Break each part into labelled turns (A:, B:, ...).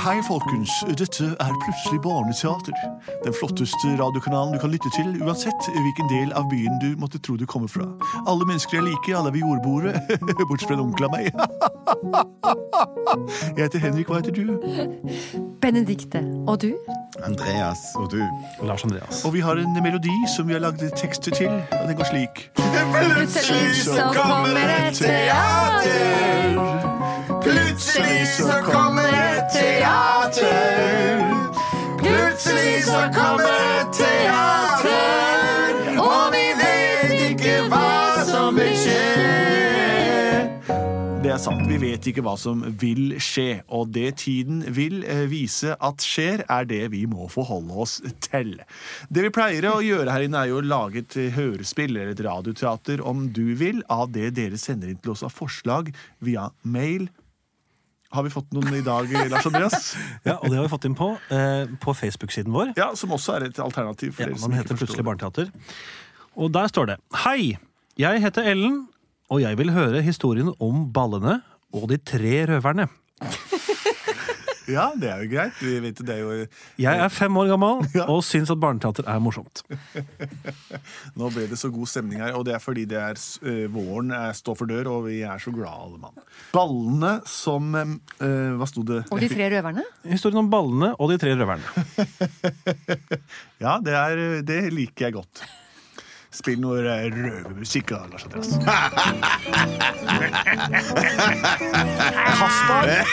A: Hei, folkens. Dette er plutselig Barneteater. Den flotteste radiokanalen du kan lytte til, uansett hvilken del av byen du måtte tro du kommer fra. Alle mennesker er like, alle er ved jordbordet, bortsett fra en onkel av meg. Jeg heter Henrik, hva heter du?
B: Benedikte. Og du?
C: Andreas og du.
D: Lars Andreas.
A: Og vi har en melodi som vi har lagd tekster til, og den går slik.
B: Plutselig så kommer et teater.
C: Plutselig så kommer et teater. Plutselig så kommer et teater. Og vi vet ikke hva som vil skje.
A: Det er sant, vi vet ikke hva som vil skje, og det tiden vil eh, vise at skjer, er det vi må forholde oss til. Det vi pleier å gjøre her inne, er jo å lage et hørespill eller et radioteater, om du vil, av det dere sender inn til oss av forslag via mail. Har vi fått noen i dag, Lars Andreas?
D: Ja, og det har vi fått inn på eh, på Facebook-siden vår.
A: Ja, Som også er et alternativ. for
D: Ja,
A: dere som
D: den
A: ikke
D: heter
A: forstår.
D: plutselig Barneteater. Og der står det Hei, jeg heter Ellen, og jeg vil høre historien om ballene og de tre røverne.
A: Ja, det er jo greit. Vi vet jo, det er jo...
D: Jeg er fem år gammel
A: Ja.
D: og syns at barneteater er morsomt.
A: Nå ble det så god stemning her, og det er fordi det er, s- eh, våren er, står for dør, og vi er så glad alle mann. Ballene som eh, eh, Hva sto det?
B: Og de tre røverne?
D: Historien om ballene og de tre røverne.
A: Ja, det, er, det liker jeg godt. Spill noe eh, røvermusikk, da, Lars Andreas. Kaspar,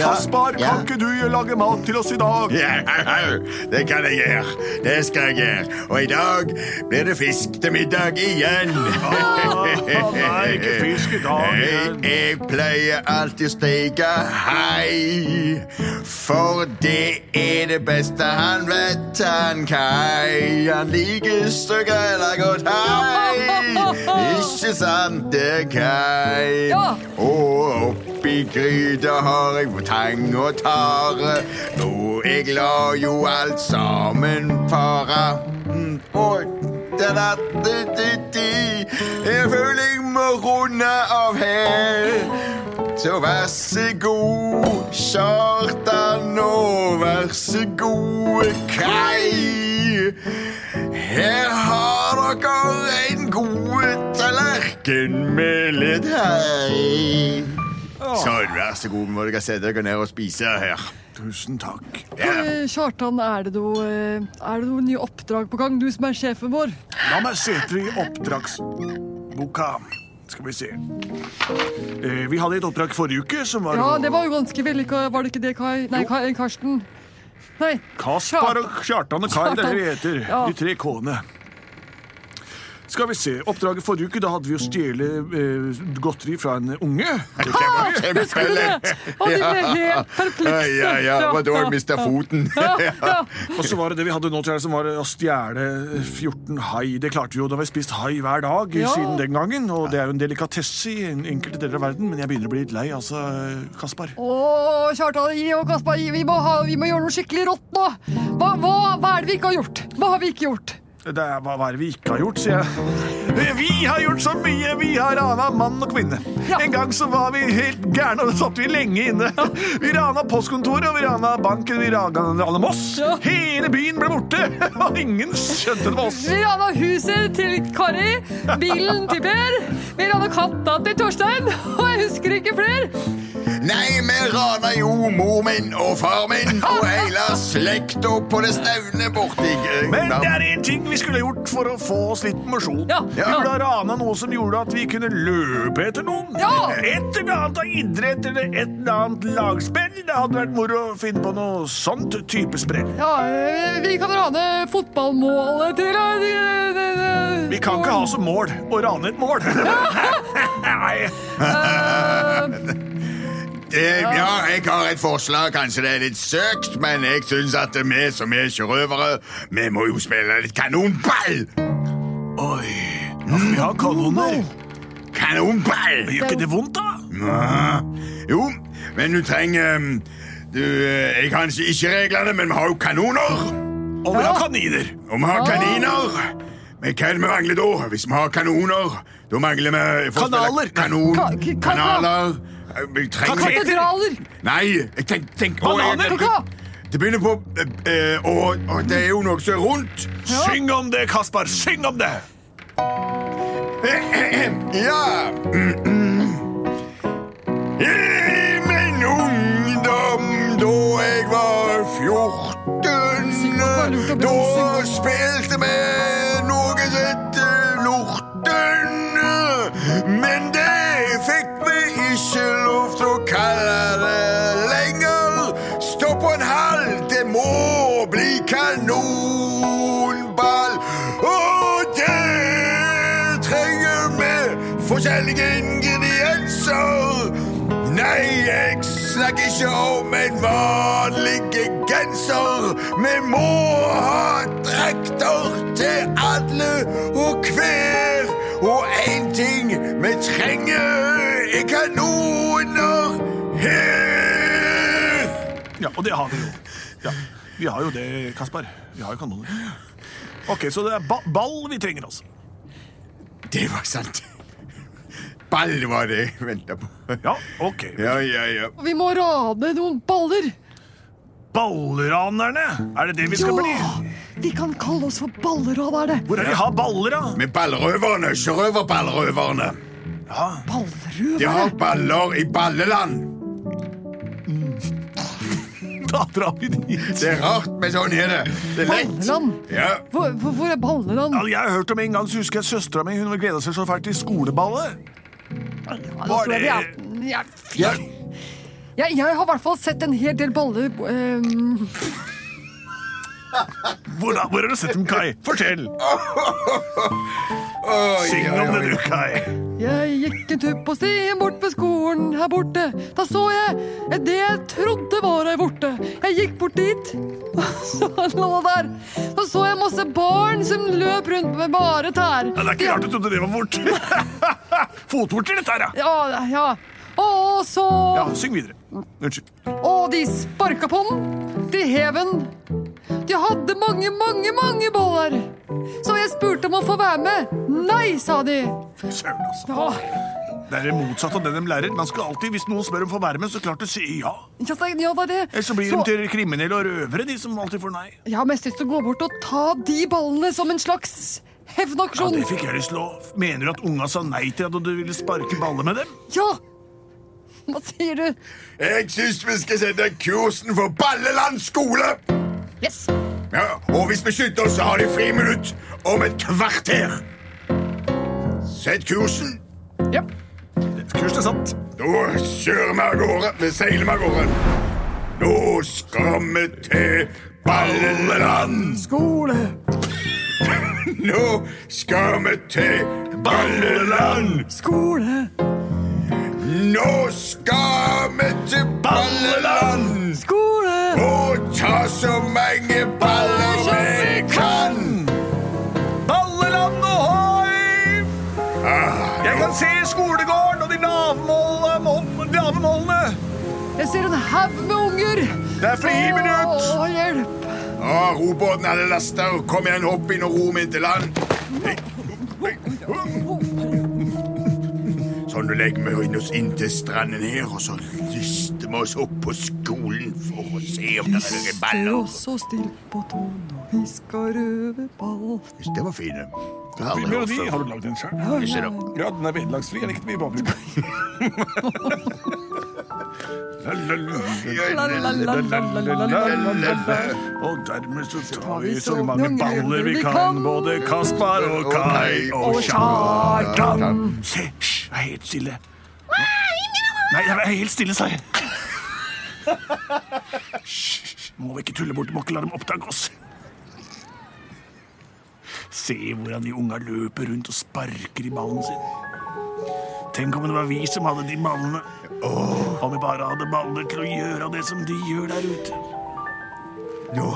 A: Kaspar,
C: Ja.
A: kan ikke du lage mat til oss i dag?
C: Ja, det kan jeg gjøre. Det skal jeg gjøre. Og i dag blir det fisk til middag igjen.
A: nei, ikke fisk i dag igjen.
C: Jeg, jeg pleier alltid å steke hai, for det er det beste han vet, han Kai. Han liker så grella godt hai. Ikke sant, det, Kai?
B: Ja.
C: Og oppi gryta har jeg tang og tare. Og jeg lar jo alt sammen fare. Mm, Og da, da, da, da, da. Jeg føler jeg må runde av her. Så vær så god, Kjartan, og vær så god, Kai. Her har dere en god tallerken med litt hei. Sånn, vær så god, må dere sette dere ned og spise her.
A: Tusen takk.
C: Ja.
E: Eh, Kjartan, er det noe, eh, er det noe nye oppdrag på gang? Du som er sjefen vår.
A: La meg se etter i oppdragsboka. Skal vi se. Eh, Vi hadde et oppdrag forrige uke som var
E: Ja,
A: å-
E: det var jo ganske vellykka, var det ikke det, Kai? Nei, Kai, eh, Karsten. Nei.
A: Kaspar og Kjartan og Kai, det er det vi heter.
E: Ja.
A: De tre K-ene. Skal vi se. Oppdraget forrige uke, da hadde vi å stjele eh, godteri fra en unge. Det var gøy.
E: Husker du det? Og de ble helt perplekse.
C: Ja, ja, det var da jeg mista foten.
E: Ja,
A: Og så var det det vi hadde nå til helgen, som var å stjele 14 hai. Det klarte vi jo. Da har vi spist hai hver dag
E: Ja.
A: siden den gangen. Og det er jo en delikatesse i en- enkelte deler av verden, men jeg begynner å bli litt lei, altså, Kaspar.
E: Å, Kjartan gi og Kaspar, gi, vi må, ha, vi må gjøre noe skikkelig rått nå. Hva, hva, hva er det vi ikke har gjort? Hva har vi ikke gjort?
A: Det er, hva, hva er det vi ikke har gjort, sier jeg. Vi har gjort så mye! Vi har rana mann og kvinne.
E: Ja.
A: En gang så var vi helt gærne, og da satt vi lenge inne. Vi rana postkontoret, og vi rana banken, vi rana Moss.
E: Ja.
A: Hele byen ble borte, og ingen skjønte det var oss.
E: Vi rana huset til Kari, bilen til Per, vi rana katta til Torstein, og jeg husker ikke flere.
C: Nei, vi rana jo mor min og far min og hele slekta på det stevne borti eh,
A: Men det er én ting vi skulle ha gjort for å få oss litt mosjon.
E: Ja.
A: Vi
C: Ja.
A: burde ha rana noe som gjorde at vi kunne løpe etter noen.
E: Ja.
A: Et eller annet av idrett eller et eller annet lagspill. Det hadde vært moro å finne på noe sånt type sprell.
E: Ja, eh, vi kan rane fotballmålet til eh, de- de- de-
A: Vi kan ikke ha som mål å rane et mål. Nei.
E: Eh,
C: Eh, Ja, jeg har et forslag. Kanskje det er litt søkt, men jeg syns at vi som er ikke røvere, vi må jo spille litt kanonball!
A: Oi. Ja, for vi har kanoner.
C: Mm, Kanonball!
A: Gjør ikke det vondt, da?
C: Ah, Jo, men du trenger um, du, eh, Jeg kan ikke- ikke reglene, men vi har jo kanoner.
A: Og vi har kaniner.
C: Og vi har kaniner. Men hva er det vi mangler da? Hvis vi har kanoner, da mangler vi for å spille
A: Kanaler.
C: Kanon,
E: Ka- ka-
C: kanaler. Eh, Vi trenger
E: Katedraler!
C: Nei, jeg tenk, tenk å, jeg-
A: Bananer!
E: Kakao!
C: Det begynner på eh, eh, Å, å, det er jo noe som er rundt.
A: Syng om det, Kaspar! Syng om det!
C: Ja. I min ungdom, da jeg var 14,
E: lurt å
C: da
E: bremse.
C: spilte vi noe som heter Lorten. Men det fikk vi ikke lov til å kalle det lenger. Stå på en hall, det må bli kanonball. Og det trenger vi forskjellige ingredienser. Nei, jeg snakker ikke om en vanlig genser. Vi må ha drakter til alle og hver. Og én ting vi trenger, er kanoner her.
A: Ja, og det har vi jo. Ja, vi har jo det, Kaspar. Vi har jo kanoner. Ok, Så det er ba ball vi trenger, altså.
C: Det var sant. Ball var det jeg venta på.
A: Ja, ok.
C: Ja, ja, ja.
E: Og vi må rane noen baller.
A: Ballranerne! Er det det vi skal bli?
E: De kan kalle oss for balleraderne.
A: Hvor er de har baller, da?
C: Med ballrøverne, ikke røverballrøverne. De har
E: Ballerøvere.
C: baller i balleland.
A: Da drar vi dit.
C: Det er rart, men sånn er det. Det er lett.
E: Balleland.
C: Ja.
E: Hvor, hvor, hvor er Balleland?
A: Ja, jeg har hørt om en gang, så husker jeg søstera mi hun gleda seg så fælt til skoleballet.
E: Da
A: Var
E: tror jeg vi er- Jeg, jeg, jeg har i hvert fall sett en hel del baller ehm,
A: Hvor, da, hvor har du sett dem, Kai? Fortell!
C: Oi,
A: Syng
C: oi,
A: om det,
C: oi.
A: du, Kai.
E: Jeg gikk en tur på stien bort ved skolen her borte. Da så jeg det jeg trodde var ei vorte. Jeg gikk bort dit, og så han lå der. Da så jeg masse barn som løp rundt med bare tær.
A: Ja, det er ikke rart du trodde det var fort. Fotvorter, dette her, ja.
E: Ja, ja. Og så
A: ja. Syng videre. Unnskyld.
E: Og de sparka på den. De hev den. De hadde mange, mange, mange boller. Så jeg spurte om å få være med. Nei, sa de.
A: Søren, altså.
E: Ja,
A: Det er det motsatte av det de lærer. Man skal alltid, Hvis noen spør om å få være med, så klart å si ja.
E: ja, det ja, det er det.
A: Ellers så blir de til kriminelle og røvere, de som alltid får nei.
E: Jeg har mest lyst til å gå bort og ta de ballene som en slags
A: Ja,
E: hevnaksjon.
A: det fikk jeg lyst til å Mener du at unga sa nei til at du ville sparke baller med dem?
E: Ja! Hva sier du?
C: Jeg syns vi skal sette kursen for Balleland skole.
E: Yes!
C: Ja, og hvis vi skynder oss, så har de friminutt om et kvarter. Sett kursen.
E: Ja.
A: Kursen er satt.
C: Da kjører vi av gårde. Vi seiler vi av gårde. Nå skal vi til Balleland.
E: Skole!
C: Nå skal vi til Balleland.
E: Skole!
C: Nå skal vi til Balleland
E: Skole!
C: og ta så mange baller vi kan.
A: Balleland ohoi! Jeg kan se skolegården og de lavmålene mål- lavemålene.
E: Jeg ser en haug med unger.
A: Det er friminutt!
E: Å, hjelp!
C: Å, robåten hadde lasta. Kom igjen, hopp inn og ro meg inn til land. Sånn, nå legger vi inn oss inn til stranden her, og så lister vi oss opp på skolen for å se om det er noen
E: Stå
C: baller.
E: så still på tå når vi skal røve ball.
C: Det var fine. Det har jeg aldri
A: Melodi
C: hørt
A: har
C: før.
A: du lagd den sjøl?
C: Ikke det.
A: Ja, den er vederlagsfri. Jeg likte mye bakgrunn. Og dermed så tar vi så mange baller vi kan, både Kaspar og Kai og Kjartan. Se, hysj, vær helt stille. Nei, jeg er helt stille, sa jeg. Hysj, må vi ikke tulle bort, må ikke la dem oppdage oss. Se hvordan de unga løper rundt og sparker i ballen sin. Tenk om det var vi som hadde de ballene. Om vi bare hadde baller til å gjøre det som de gjør der ute.
C: Nå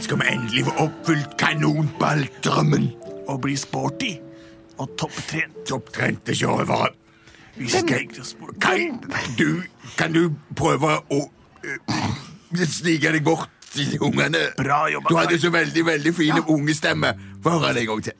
C: skal vi endelig få oppfylt kanonballdrømmen.
A: Og bli sporty og topptrent.
C: Topptrente kjørere.
A: Vi skal sport.
C: Kai, du, kan du prøve å eh, snike deg bort til ungene?
A: Bra jobba,
C: Du hadde
A: Kai.
C: så veldig veldig fine ungestemme. Få høre det en gang til.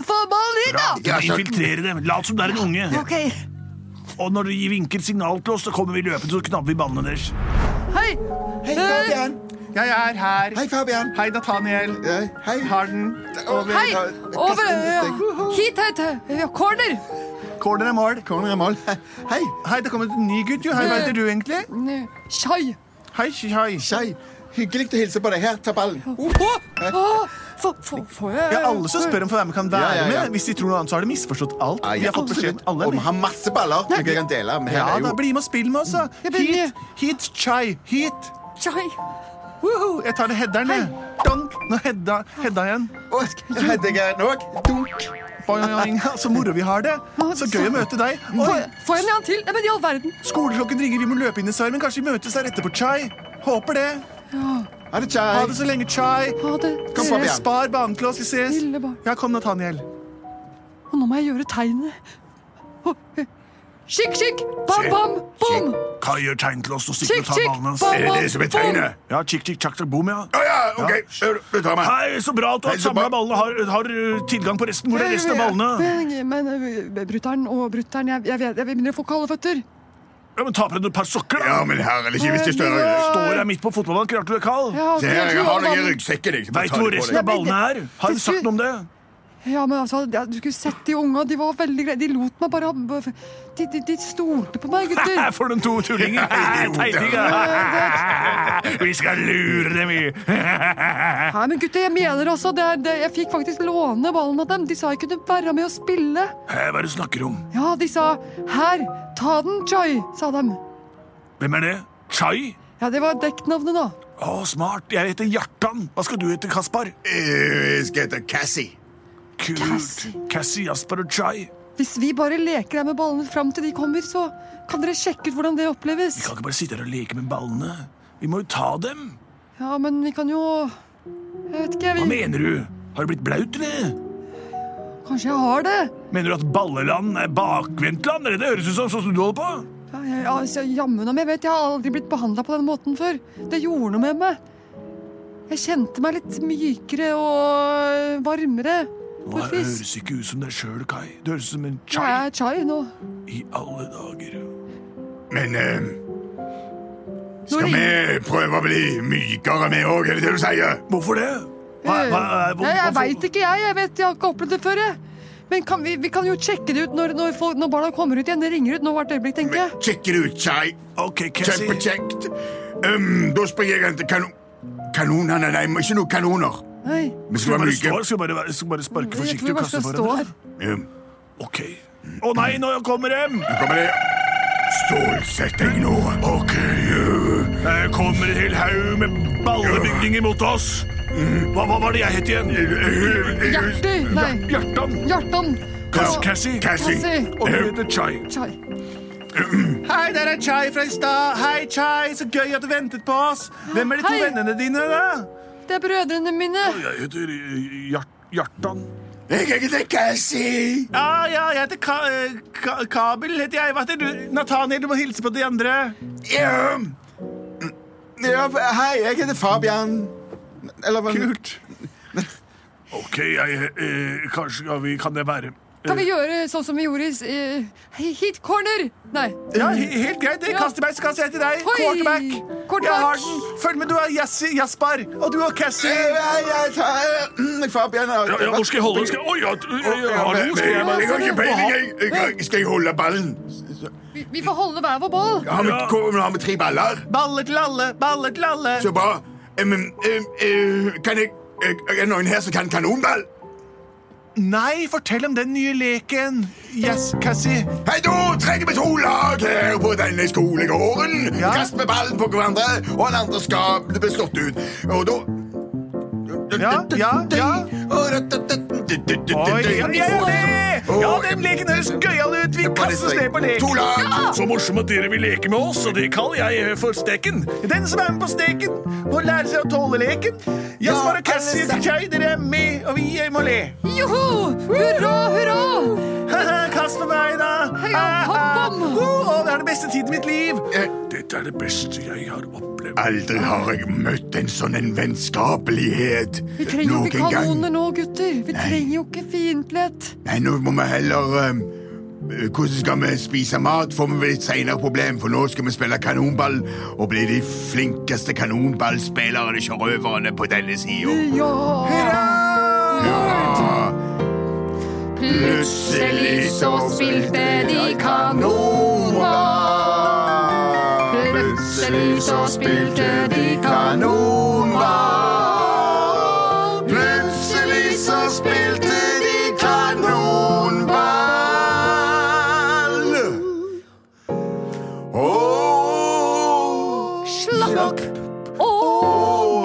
E: Få ballen inn,
A: Bra.
E: da!
C: Ja, så-
A: Infiltrere dem. Lat som det er en unge.
E: Ok.
A: Og når de vinker signal til oss, så kommer vi løpende så knabber vi ballene deres.
E: Hei!
F: Hei,
E: Eh,
F: Fabian.
A: Jeg er her.
F: Hei, Fabian.
A: Hei, Nathaniel.
F: Eh, Hei.
A: Har den.
F: Over-
E: Hei!
F: eh,
E: Over!
F: kasten
E: ja.
F: litt, eh.
E: Hit, hit! ja, Corner!
A: Corner er mål.
F: Corner i mål. Hei.
A: Hei, det kommer en ny gutt, jo. Hei, hva heter du egentlig?
E: Mm, Chai!
A: Hei, hei.
F: Shai. Hyggelig å hilse på deg. Her, ta ballen. Uh.
E: Åh, åh, få- få- Får jeg
A: Ja, alle som spør om for hvem kan være
F: Ja, ja, ja.
A: med. Hvis de tror noe annet, så har de misforstått alt.
F: Ah,
A: Vi
F: ja,
A: har fått beskjed
F: absolutt.
A: om alle.
F: Og vi har masse baller som jeg kan dele. Men her
A: Ja,
F: er
A: da
F: jo
A: bli med og spill med oss, da.
E: Jeg blir
A: Hit, hit, chai, hit.
E: Chai!
A: Woohoo, Jeg tar det headeren, jeg. Donk. Nå hedda, hedda igjen.
F: Å, Hedde jeg den òg? Dunk.
A: Boing, boing, boing. Så moro vi har det. Så gøy å møte deg.
E: Får
A: Oi,
E: jeg- får jeg en annen til? Ja, men i all verden!
A: Skoleklokken ringer, vi må løpe inn i sarmen. Kanskje vi møtes der etterpå, chai. Håper det.
F: Ha det,
A: Ha
F: Shai.
A: det så lenge, chai.
E: Ha det.
F: Kom,
E: Dere-
F: Fabian.
A: Spar banen til oss. Vi ses.
E: Stille barn.
A: Ja, kom, Nathaniel.
E: Og nå må jeg gjøre tegnet. Åh, eh. Skikk, skikk! Bam, bam, bom!
A: Kai gjør tegn til oss og
E: Skikk, skikk! Bam, bam,
C: Er det det som er
E: bom!
C: tegnet?
A: Ja, chikk, chikk, chakk, chakk, boom, ja.
C: Å ja, OK. Du tar meg.
A: Hei, så bra at du har
C: Hei, så bra.
A: samla ballene. Har, har uh, tilgang på resten. Hvor er resten av ballene?
E: Men, men, eh, brutter'n og brutter'n, jeg, jeg, vet- jeg begynner å få kalde føtter.
A: Ja, men Ta på deg et par sokker,
C: Ja,
A: da.
C: men herlig, ikke hvis det er større
A: Står her midt på fotballbanen, klart du er kald.
E: Jeg har
C: Se her, jeg har
E: noe
C: noe i ryggsekken. jeg. Så bare
A: Veit
C: ta
A: du hvor
C: det på
A: resten
C: deg.
A: av ballene er? Har
E: Det
A: du sagt
E: skulle-
A: noe om det?
E: Ja, men altså, ja, Du skulle sett de unga. De var veldig greie. De lot meg bare ha De, de, de stolte på meg, gutter.
A: Her får de to tullinger.
C: Nei,
A: Hæ,
C: idiot.
A: Teitinger. Vi skal lure dem i.
E: Nei, men gutter, jeg mener også det, er- det Jeg fikk faktisk låne ballen av dem. De sa jeg kunne være med og spille.
A: Hæ, Hva er det du snakker om?
E: Ja, de sa 'her, ta den, Chai', sa dem.
A: Hvem er det? Chai?
E: Ja, det var dekknavnet, da.
A: Å, smart. Jeg heter Hjartan. Hva skal du hete, Kaspar?
C: Eh, Jeg skal hete Cassie.
A: Kult.
E: Cassie.
A: Cassie, Jasper og Chai.
E: Hvis vi bare leker her med ballene fram til de kommer, så kan dere sjekke ut hvordan det
A: Vi
E: oppleves.
A: kan ikke bare sitte her og leke med ballene. Vi må jo ta dem.
E: Ja, men vi kan jo Jeg vet ikke,
A: Hva
E: vi
A: mener du? Har du blitt blaut, eller?
E: Kanskje jeg har det?
A: Mener du at balleland er bakvendtland? Er det det høres ut som sånn som du holder på?
E: Ja, jeg- ja, altså, Jammen om jeg vet, jeg har aldri blitt behandla på den måten før. Det gjorde noe med meg. Jeg kjente meg litt mykere og varmere.
A: Nå
E: På
A: her
E: et vis.
A: høres ikke ut som deg sjøl, Kai. Det høres ut som en
E: Jeg
A: chai
E: er chai nå.
A: i alle dager.
C: Men eh,
E: Nå
C: skal vi
E: ringer-
C: prøve å bli mykere, vi òg? Er det det du sier?
A: Hvorfor det?
E: Ja, jeg veit ikke, jeg. Jeg vet, jeg har ikke opplevd det før. jeg. Men kan vi, vi kan jo sjekke det ut når, når, folk, når barna kommer ut igjen. Det ringer ut nå hvert øyeblikk, tenker jeg.
C: Sjekk det ut, Chai.
A: Ok, Cassie.
C: Kjempekjekt. Um, da springer jeg og henter kanon... Kanonene? Nei, ikke noen kanoner.
E: Nei,
C: Vi skal
A: Skal vi
C: være
A: bare,
C: myke.
A: stå, her? skal vi bare, være- skal vi bare sparke
E: jeg
A: forsiktig
E: tror vi
A: og
E: bare
A: kaste
E: skal stå
A: foran?
E: her.
C: Um,
A: Ok. Å nei, nå kommer dem!
C: Nå kommer det. Stålsett deg nå. OK. øh,
A: Her Eh, kommer en hel haug med ballebygninger mot oss. Hva, hva var det jeg het igjen?
C: øh, øh,
E: Hjerti! Nei,
A: Hjartan.
E: Hjartan.
A: Cass-
E: Og-
A: Cassie.
C: Cassie.
E: Cassie.
A: Og du heter Chai.
E: Chai.
A: Hei, der er Chai fra i stad. Hei, Chai. Så gøy at du ventet på oss. Hvem er de to
E: Hei.
A: vennene dine, da?
E: Det er brødrene mine.
A: Jeg heter eh, Hjart- Hjartan.
C: Jeg heter Cassie.
A: Ja, ja, jeg heter Ka eh, Ka Kabel. heter jeg. Hva heter du? Nathaniel, du må hilse på de andre.
C: Ja,
F: Ja, hei, jeg heter Fabian. Eller hva?
A: Kult. OK, jeg eh, Kanskje kan vi Kan det være
E: Kan vi gjøre sånn som vi gjorde i s- i Hit corner! Nei.
A: Ja, he- helt greit. det.
E: Ja.
A: Kast til meg, så kaster jeg til deg.
E: Oi.
A: Quarterback.
E: Quarterback.
A: Jeg har den. Følg med, du er Jassi, Jaspar. Og du er Cassie.
F: Eh, Hei, jeg tar mm, Fabian. og-
A: jeg holde den? Oi, ja,
C: men- men- Jeg har ikke peiling. jeg. Jeg har- Skal jeg holde ballen?
E: Vi, vi får holde hver vår ball.
C: Har vi,
A: Ja.
C: kom, har vi tre baller?
A: Baller til alle, baller til alle.
C: Så bra. Um, um, uh, kan jeg uh, Er det noen her som kan kanonball?
A: Nei, fortell om den nye leken. Yes, Cassie.
C: Hei, da trenger vi to lag her på denne skolegården.
A: Ja.
C: Kast med ballen på hverandre, og den andre skal bli slått ut. Og da
A: Ja, ja, ja. Oi, ja, ja, ja, det! ja, den leken høres gøyal ut. Vi kastes ned på lek.
C: To lag.
A: Så morsomt at dere vil leke med oss, og det kaller jeg eh, for steken. Den som er med på steken, må lære seg å tåle leken. Jasper og Cassie, Jai, dere er med, og vi eh, må le.
E: Joho! Hurra, hurra!
A: Kast med meg, da!
E: Hei, ja, hopp om.
A: Oh, det er det beste tiden i mitt liv!
C: Eh,
A: Dette er det beste jeg har opplevd.
C: Aldri har jeg møtt en sånn en vennskapelighet
E: Vi trenger jo ikke
C: noen gang.
E: kanoner nå, gutter. Vi trenger jo ikke fiendtlighet.
C: Nei, nå må vi heller um, Hvordan skal vi spise mat, får vi vel et senere problem, for nå skal vi spille kanonball og bli de flinkeste kanonballspillerne, sjørøverne, på denne sida.
E: Ja!
C: Ja,
B: Plutselig så spilte de kanonball. Plutselig så spilte de kanonball.
C: Plutselig så spilte de kanonball. Og
B: Slapp og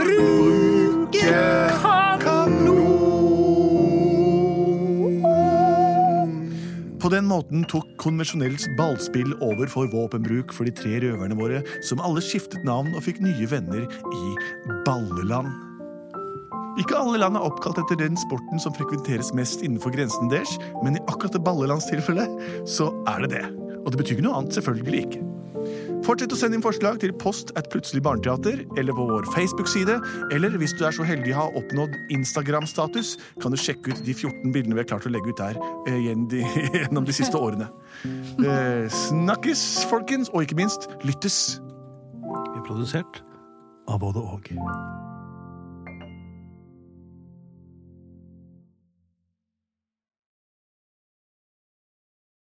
C: bruke kanon.
A: På den måten tok konvensjonelt ballspill over for våpenbruk for de tre røverne våre, som alle skiftet navn og fikk nye venner i Balleland. Ikke alle land er oppkalt etter den sporten som frekventeres mest innenfor grensen deres, men i akkurat det ballelandstilfellet så er det det. Og det betyr ikke noe annet, selvfølgelig ikke. Fortsett å sende inn forslag til post at Plutselig barneteater, eller på vår Facebook-side, eller hvis du er så heldig å ha oppnådd Instagram-status, kan du sjekke ut de 14 bildene vi har klart å legge ut der eh, igjen de, gjennom de siste årene. Eh, snakkes, folkens, og ikke minst lyttes.
D: Vi er produsert av både og.